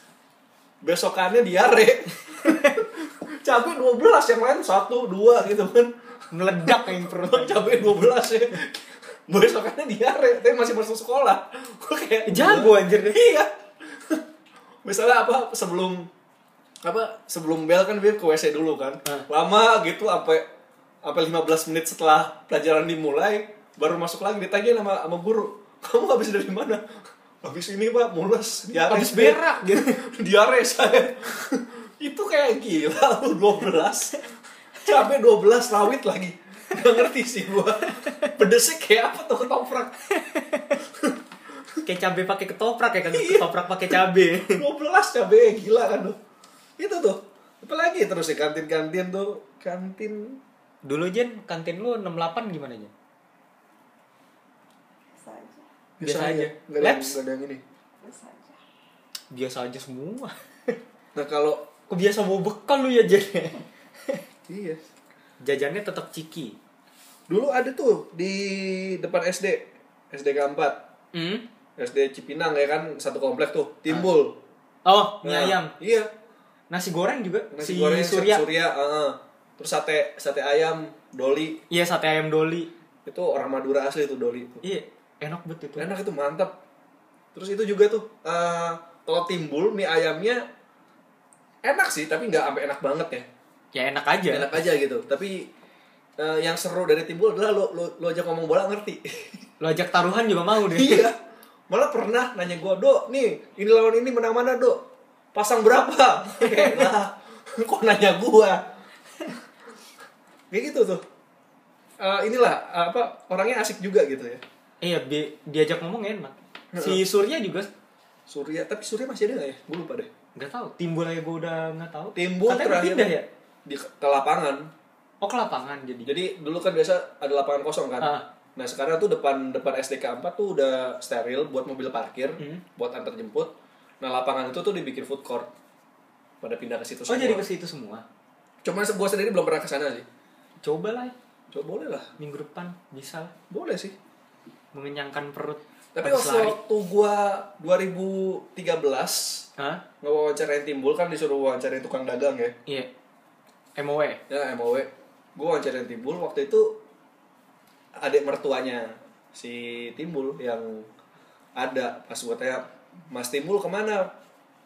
Besokannya diare Cabai 12, yang lain satu, dua gitu kan
Meledak yang perut.
Lo cabai 12 ya Besokannya diare Tapi masih masuk sekolah Gue kayak
Eh, Jago anjir dia.
Iya Misalnya apa sebelum apa sebelum bel kan dia ke WC dulu kan
Hah.
lama gitu sampai sampai 15 menit setelah pelajaran dimulai baru masuk lagi ditanya sama sama guru kamu habis dari mana habis ini pak mules diare
Habis berak gitu.
diare saya itu kayak gila lu 12 cabe 12 rawit lagi gak ngerti sih gua pedesnya kayak apa tuh ketoprak
Kayak cabe pakai ketoprak ya kan.
Iya.
Ketoprak pakai cabe.
12 cabe gila kan lu itu tuh apalagi terus di kantin-kantin tuh kantin
Dulu Jen, kantin lu 68 gimana Jen?
Biasa aja.
Biasa aja.
Gak ada, yang,
Labs.
nggak ada yang ini
Biasa aja.
Biasa aja semua.
nah kalau
Kok biasa mau bekal lu ya Jen?
iya
Jajannya tetap ciki.
dulu ada tuh di depan SD SDK 4
Hmm?
SD Cipinang ya kan satu komplek tuh timbul
Oh, mie
Nah,
ayam.
iya
Nasi goreng juga. si
nasi goreng
Surya.
Surya, heeh. terus sate sate ayam doli
Iya, sate ayam doli.
itu orang Madura asli tuh doli itu
Iya, enak banget itu.
enak itu mantap terus itu juga tuh eh kalau timbul mie ayamnya enak sih tapi nggak sampai enak banget ya
Ya enak aja.
enak aja gitu tapi eh, yang seru dari timbul adalah lo lo, lo aja ngomong bola ngerti
Lo ajak taruhan juga mau deh.
iya malah pernah nanya gua do nih ini lawan ini menang mana do pasang berapa Kayak, lah kok nanya gua kayak gitu tuh Eh, inilah apa orangnya asik juga gitu ya
Iya, bi- diajak ngomong enak. Si Surya juga
Surya tapi Surya masih ada nggak ya gue lupa deh
nggak tahu. Timbul aja gue udah nggak tahu.
timbul
Katanya
terakhir
pindah ya?
di ke lapangan
Oh ke lapangan jadi.
jadi dulu kan biasa ada lapangan kosong kan
Ah.
nah sekarang tuh depan depan SDK 4 tuh udah steril buat mobil parkir
Hmm.
buat antar jemput nah lapangan itu tuh dibikin food court pada pindah ke situ
oh
semua
jadi ke situ semua.
cuman gue sendiri belum pernah ke sana sih
Coba lah ya,
coba boleh lah
minggu depan bisa lah
boleh sih
mengenyangkan perut.
tapi
habis lari.
waktu gua 2013
Hah?
ngewawancarain timbul kan disuruh wawancarain tukang dagang ya
Iya. E. MOW.
ya MOW gue wawancarain Timbul waktu itu adik mertuanya si Timbul yang ada pas gue tanya Mas Timbul kemana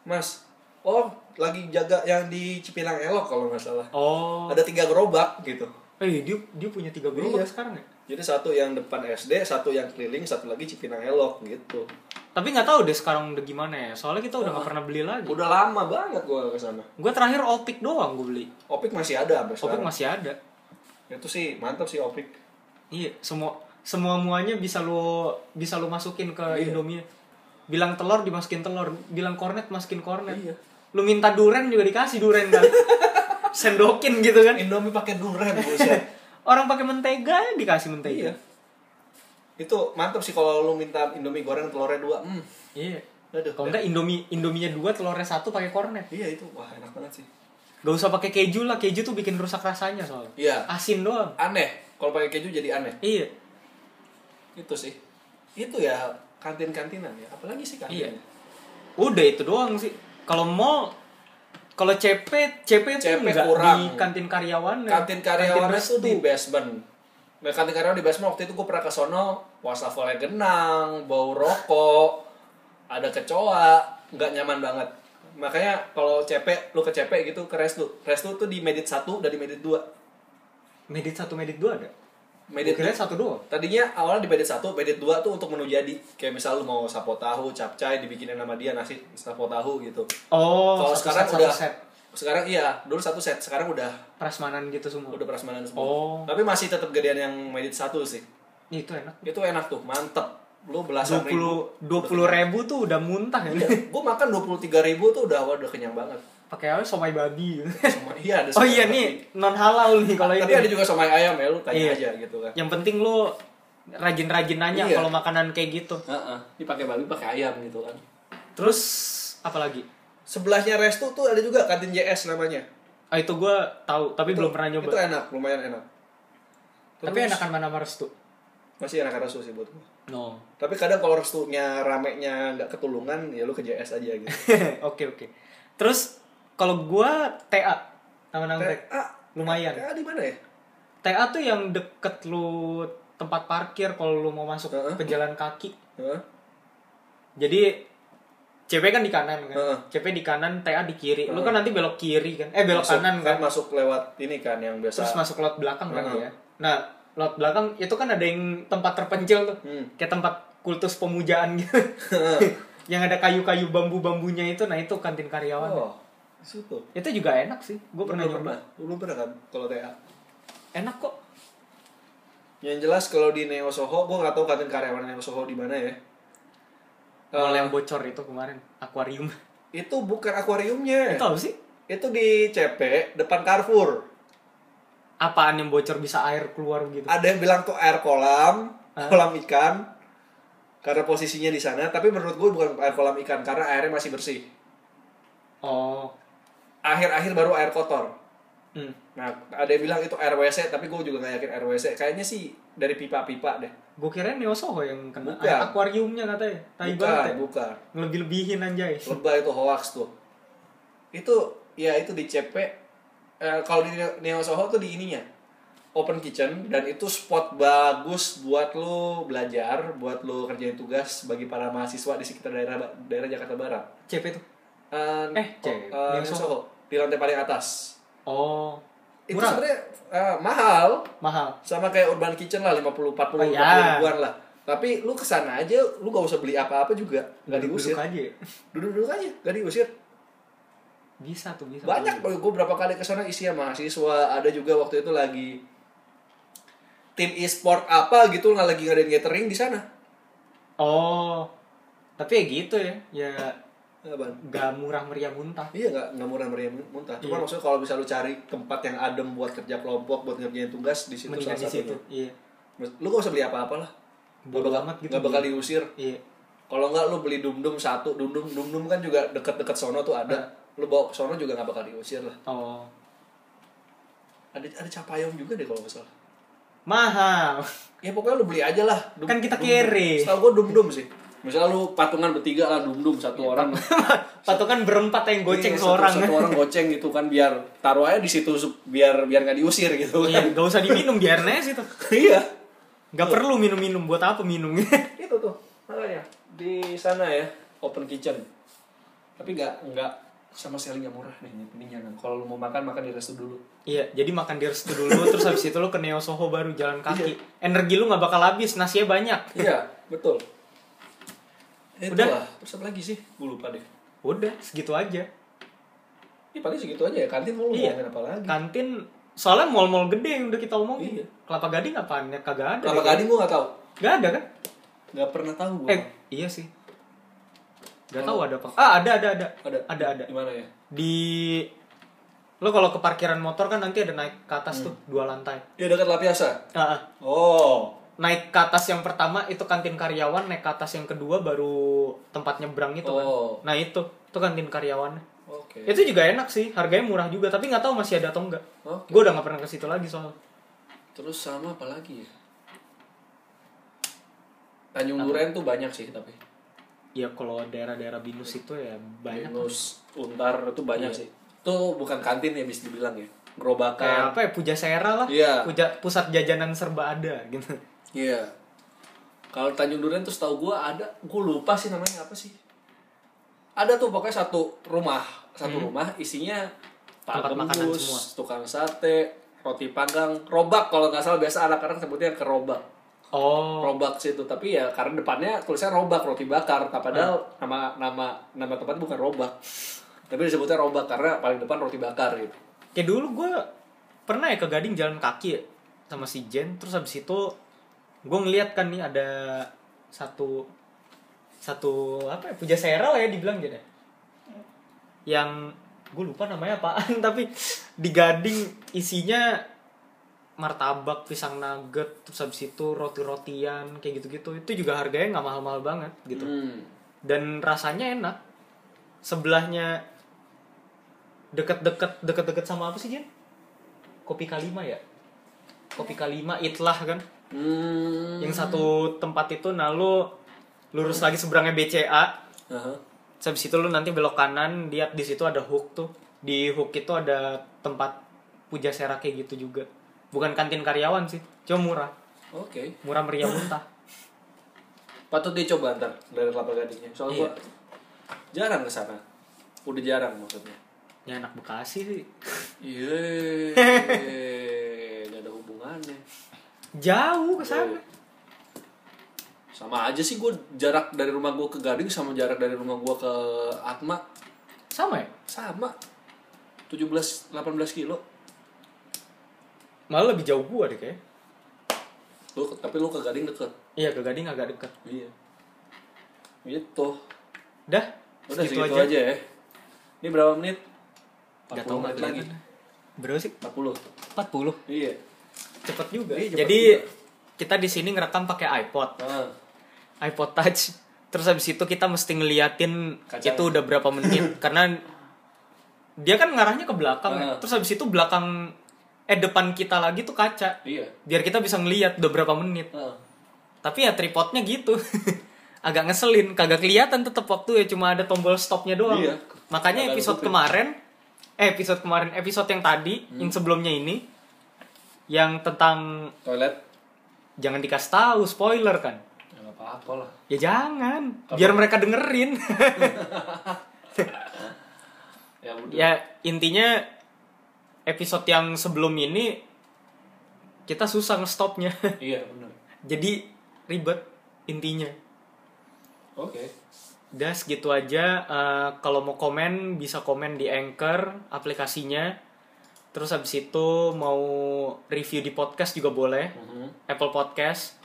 Mas oh lagi jaga yang di Cipinang Elok kalau nggak salah
Oh.
ada tiga gerobak gitu
Eh, dia dia punya tiga gerobak
Iya.
sekarang ya?
jadi satu yang depan SD satu yang keliling satu lagi Cipinang Elok gitu
Tapi nggak tahu deh sekarang udah gimana ya. Soalnya kita udah nggak pernah beli lagi.
udah lama banget gue ke sana
Gue terakhir Opik doang gue beli.
Opik masih ada sampai
Opik
sekarang
masih ada.
itu sih mantap sih Opik
Iya, semua semua muanya bisa lo bisa lo masukin ke
Iya.
Indomie. Bilang telur dimasukin telur, bilang kornet masukin kornet.
Iya.
Lu minta duren juga dikasih duren kan. Sendokin gitu kan.
Indomie pakai durian buset
Orang pakai mentega ya dikasih mentega.
Iya. Itu mantap sih kalau lu minta Indomie goreng telurnya dua. Hmm.
Iya.
Aduh. ya.
Kalau enggak Indomie Indominya dua, telurnya satu pakai kornet.
Iya itu wah enak banget sih.
Gak usah pakai keju lah, keju tuh bikin rusak rasanya soalnya.
Iya.
Asin doang.
Aneh. Kalau pakai keju jadi aneh.
Iya.
Itu sih. Itu ya kantin-kantinan ya. Apalagi sih
Iya.
kantin.
Udah itu doang sih. Kalau mall kalau CP, CP, tuh
CP
enggak
kurang.
di kantin karyawan.
Kantin karyawan
restu.
itu di basement. Nah, kantin karyawan di basement waktu itu gue pernah ke sono, wastafelnya genang, bau rokok, ada kecoa, nggak nyaman banget. makanya kalau CP lu ke CP gitu ke Restu Restu tuh di medit 1 dan di medit 2
Medit satu, medit dua ada?
medit
Gua kira satu doang.
tadinya awalnya di medit 1 medit 2 tuh untuk menu jadi kayak misal lu mau sapo tahu capcay dibikinin sama dia nasi sapo tahu gitu
Oh,
kalau
satu set,
sekarang
satu
udah
set.
sekarang iya dulu satu set sekarang udah
Prasmanan gitu semua.
udah prasmanan semua
Oh.
tapi masih tetap gedean yang medit 1 sih
Ih, Itu enak.
itu enak tuh mantep lu belasan
20
ribu
20
Iya.
ribu tuh udah muntah ya.
gue makan 23 ribu tuh udah udah kenyang banget
Pakai apa? Somai babi.
Somai- iya ada
Oh
somai
iya
babi.
nih, non halal nih kalau
tapi ada
ini.
juga somai ayam ya lu
Iya.
tanya aja gitu kan
Yang penting lu rajin-rajin nanya
Iya.
kalau makanan kayak gitu.
Heeh, ini pakai babi pakai ayam gitu kan
Terus apalagi?
sebelahnya restu tuh ada juga kantin JS namanya
Ah itu gua tahu, tapi belum pernah nyoba.
itu enak lumayan enak
tapi
Terus,
enakan mana sama restu?
masih enak restu sih buat gua
No.
tapi kadang kalau restunya ramenya nggak ketulungan ya lu ke JS aja gitu
Oke oke. Terus kalau gua TA nama nagrek. Lumayan.
ah, di mana ya
TA tuh yang deket lu tempat parkir kalau lu mau masuk
Heeh.
pejalan kaki.
Heeh.
Jadi CP kan di kanan kan.
Heeh.
CP di kanan, TA di kiri. Lu
Heeh.
kan nanti belok kiri kan. Eh belok
Masuk-
kanan kan.
kan masuk lewat ini kan yang biasa
Terus masuk lot belakang kan
Heeh.
ya. Nah, lot belakang itu kan ada yang tempat terpencil tuh.
Hmm.
Kayak tempat kultus pemujaan gitu. yang ada kayu-kayu bambu-bambunya itu, nah itu kantin karyawan.
oh di situ
Itu juga enak sih. Gue pernah
Lu
nyoba.
Lu belum pernah kan kalau TA?
Enak kok.
Yang jelas kalau di Neo Soho, gue nggak tahu kantin karyawan Neo Soho di mana ya. Eh,
Kalau yang bocor itu kemarin akuarium.
itu bukan akuariumnya.
Itu
Itu.
apa sih?
di CP depan Carrefour.
Apaan yang bocor bisa air keluar gitu?
Ada yang bilang tuh air kolam,
Hah?
kolam ikan. Karena posisinya di sana, tapi menurut gue bukan air kolam ikan karena airnya masih bersih.
Oh.
Akhir-akhir baru air kotor.
Hmm.
Nah, ada yang bilang itu air WC, tapi gue juga nggak yakin air WC. Kayaknya sih dari pipa-pipa deh.
Gue kira Neo Soho yang kena
Bukan.
Air akuariumnya katanya. Tai banget
Bukan,
ya.
bukan.
Lebih-lebihin anjay.
lebah itu hoax tuh itu ya itu di CP eh, kalau di Neo Soho tuh di ininya open kitchen dan itu spot bagus buat lo belajar buat lo kerjain tugas bagi para mahasiswa di sekitar daerah daerah Jakarta Barat
CP tuh.
Eh,
Eh,
oh,
CP,
eh,
Neo
Neo
Soho.
Soho di lantai paling atas
Oh.
itu
Murah.
sebenarnya eh, mahal
Mahal.
sama kayak urban kitchen lah 50
Oh,
40
iya.
40 ribuan lah tapi lu kesana aja lu gak usah beli apa-apa juga nggak diusir
Duduk aja ya.
duduk-duduk aja nggak diusir
Bisa tuh bisa.
banyak gue berapa kali ke sana isinya mahasiswa ada juga waktu itu lagi tim e-sport apa gitu nggak lagi ngadain gathering di sana
Oh. Tapi ya gitu ya. Ya
Eh, Ban.
gak murah meriah muntah.
iya nggak nggak murah meriah muntah cuma
Iya.
maksudnya kalau bisa lu cari tempat yang adem buat kerja kelompok buat ngerjain tugas di situ
Mendingan di
salah
situ.
satunya
Iya.
lu gak usah beli apa-apa lah
Bodo
Nggak bakal-
amat gitu.
nggak bakal diusir
Iya.
kalau nggak lu beli dum dum satu dum dum dum dum kan juga deket-deket sono tuh ada lu bawa ke sono juga nggak bakal diusir lah
Oh.
ada ada capayong juga deh kalau nggak salah
Mahal.
ya pokoknya lu beli aja lah Dum-
Kan kita
dum-dum.
kere.
setahu gua dum dum sih misalnya lu patungan bertiga lah dum dum satu orang
Patokan berempat yang Iya. goceng
Iya, satu-
seorang.
satu orang goceng gitu kan biar taruh aja di situ sup- biar biar nggak diusir gitu
Iya,
kan
gak usah diminum biarin aja situ.
iya
Gak perlu minum-minum buat apa minumnya?
itu tuh makanya di sana ya open kitchen tapi nggak nggak sama sekali nggak murah nih ini jangan kalau lu mau makan makan di resto dulu
Iya, jadi makan di restu dulu, terus habis itu lu ke Neo Soho baru jalan kaki. Energi lu nggak bakal habis, nasinya banyak.
iya betul
Udah?
Itulah. terus apa lagi sih gue lupa deh
Udah, segitu aja.
Ih, paling segitu aja ya kantin mau lu
Iya.
ngomongin apa lagi
Kantin, soalnya mall-mall gede yang udah kita omongin.
Iya.
Kelapa Gading apaan? Ya, kagak ada.
Kelapa
deh.
Gading gue nggak tahu
Nggak ada kan?
nggak pernah tahu gue
Eh, iya sih. Gak tahu ada apa. Ah, ada, ada, ada.
ada
Ada, ada.
di mana ya
Di... Lo kalau ke parkiran motor kan nanti ada naik ke atas tuh, dua lantai.
ya dekat Lapiasa
Ah, ah.
oh
naik ke atas yang pertama itu kantin karyawan naik ke atas yang kedua baru tempat nyebrang itu kan
Oh.
nah itu itu kantin karyawan
oke
itu juga enak sih harganya murah juga tapi nggak tahu masih ada atau enggak
Oke.
gue udah nggak pernah ke situ lagi soal
terus sama apa lagi ya Tanjung Duren tuh banyak sih tapi
ya kalau daerah-daerah binus itu ya banyak Iya.
Pinus Untar itu banyak sih itu bukan kantin ya bisa dibilang ya gerobakan
kayak apa ya puja sera lah
Iya.
Puja- pusat jajanan serba ada gitu
iya kalau Tanjung Duren tuh setahu gue ada gue lupa sih namanya apa sih ada tuh pokoknya satu rumah satu rumah isinya pak
Hmm. Tempat makanan
gembus,
semua.
tukang sate roti panggang robak kalau nggak salah biasa anak-anak sebutnya kerobak
Oh,
robak sih itu tapi ya karena depannya tulisannya robak roti bakar tak padahal
Hmm.
nama nama nama tempat bukan robak tapi disebutnya robak karena paling depan roti bakar gitu
kayak dulu gue pernah ya ke Gading jalan kaki ya, sama si Jen terus habis itu gue ngeliat kan nih ada satu satu apa ya puja sera lah ya dibilang gitu ya. yang gue lupa namanya apaan tapi di Gading isinya martabak pisang nugget terus habis itu roti rotian kayak gitu gitu itu juga harganya nggak mahal mahal banget gitu
Hmm.
dan rasanya enak sebelahnya deket-deket deket-deket sama apa sih Jen? Kopi Kalima ya? Kopi Kalima itlah kan?
Hmm.
Yang satu tempat itu nah lu lurus lagi seberangnya BCA.
Aha.
Terus Habis itu lu nanti belok kanan, lihat di situ ada hook tuh. Di hook itu ada tempat puja sera kayak gitu juga. Bukan kantin karyawan sih, cuma murah.
oke
Murah meriah muntah.
patut dicoba ntar dari kelapa gadingnya soalnya
Iya.
gua jarang ke sana udah jarang maksudnya
Ya anak Bekasi sih.
iya nggak ada hubungannya
Jauh ke sana.
sama aja sih gue jarak dari rumah gue ke Gading sama jarak dari rumah gue ke Atma
Sama ya?
sama 17 18 kilo
Malah lebih jauh gua deh kayaknya.
lu tapi lu ke Gading deket
Iya ke Gading agak deket
iya gitu
Dah
udah segitu aja. ya ini berapa menit
Gak tau
40 menit lagi
Bro sih
40
40
iya
Cepet juga
Iya, cepet
Jadi
juga.
kita di sini ngerekam pakai iPod
Ah,
iPod Touch Terus habis itu kita mesti ngeliatin
Kacanya.
itu udah berapa menit Karena dia kan ngarahnya ke belakang ya.
Ah.
Terus habis itu belakang Eh depan kita lagi tuh kaca
iya
Biar kita bisa ngeliat udah berapa menit
Ah.
Tapi ya tripodnya gitu agak ngeselin kagak kelihatan tetap waktu ya cuma ada tombol stopnya doang
Iya.
makanya
Agak
episode
nutupin.
kemarin eh episode kemarin episode yang tadi yang sebelumnya ini yang tentang
toilet
jangan dikasih tahu spoiler kan
ya nggak apa-apa lah
ya jangan biar mereka dengerin
ya udah
ya intinya episode yang sebelum ini kita susah ngestopnya
iya benar
jadi ribet intinya
oke
Udah segitu aja. Eh, kalau mau komen bisa komen di Anchor aplikasinya. Terus habis itu mau review di podcast juga boleh.
Mhm.
Apple Podcast,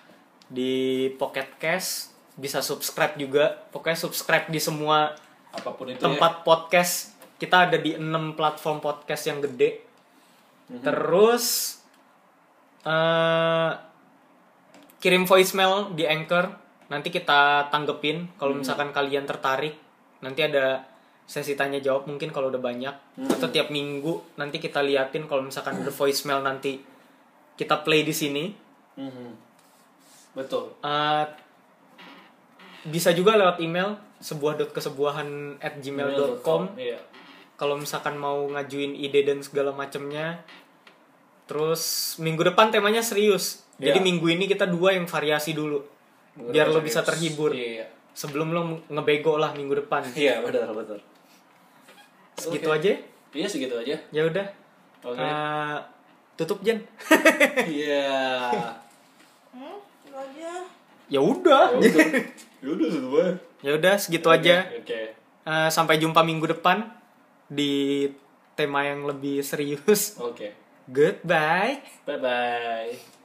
di Pocket Cast, bisa subscribe juga. Pokoknya subscribe di semua
apapun itu ya.
tempat podcast. Kita ada di 6 platform podcast yang gede. Terus eh kirim voicemail di Anchor, nanti kita tanggepin kalau misalkan kalian tertarik. Nanti ada sesi tanya jawab mungkin kalau udah banyak atau tiap minggu nanti kita liatin kalau misalkan ada voicemail nanti kita play di sini.
Mhm. betul
Eh, bisa juga lewat email sebuah dot kesebuahan at gmail.com
iya
kalau misalkan mau ngajuin ide dan segala macemnya terus minggu depan temanya serius jadi
Iya.
minggu ini kita dua yang variasi dulu biar lo bisa terhibur
iya
sebelum lo ngebego lah minggu depan
iya benar benar
segitu aja
iya segitu aja
ya udah
oke
Eh, tutup Jen
iya
Hmm, itu aja.
ya udah
Yaudah. Yaudah, tutup aja.
ya udah segitu
Oke,
aja
oke
Eh, sampai jumpa minggu depan di tema yang lebih serius
oke
goodbye
bye bye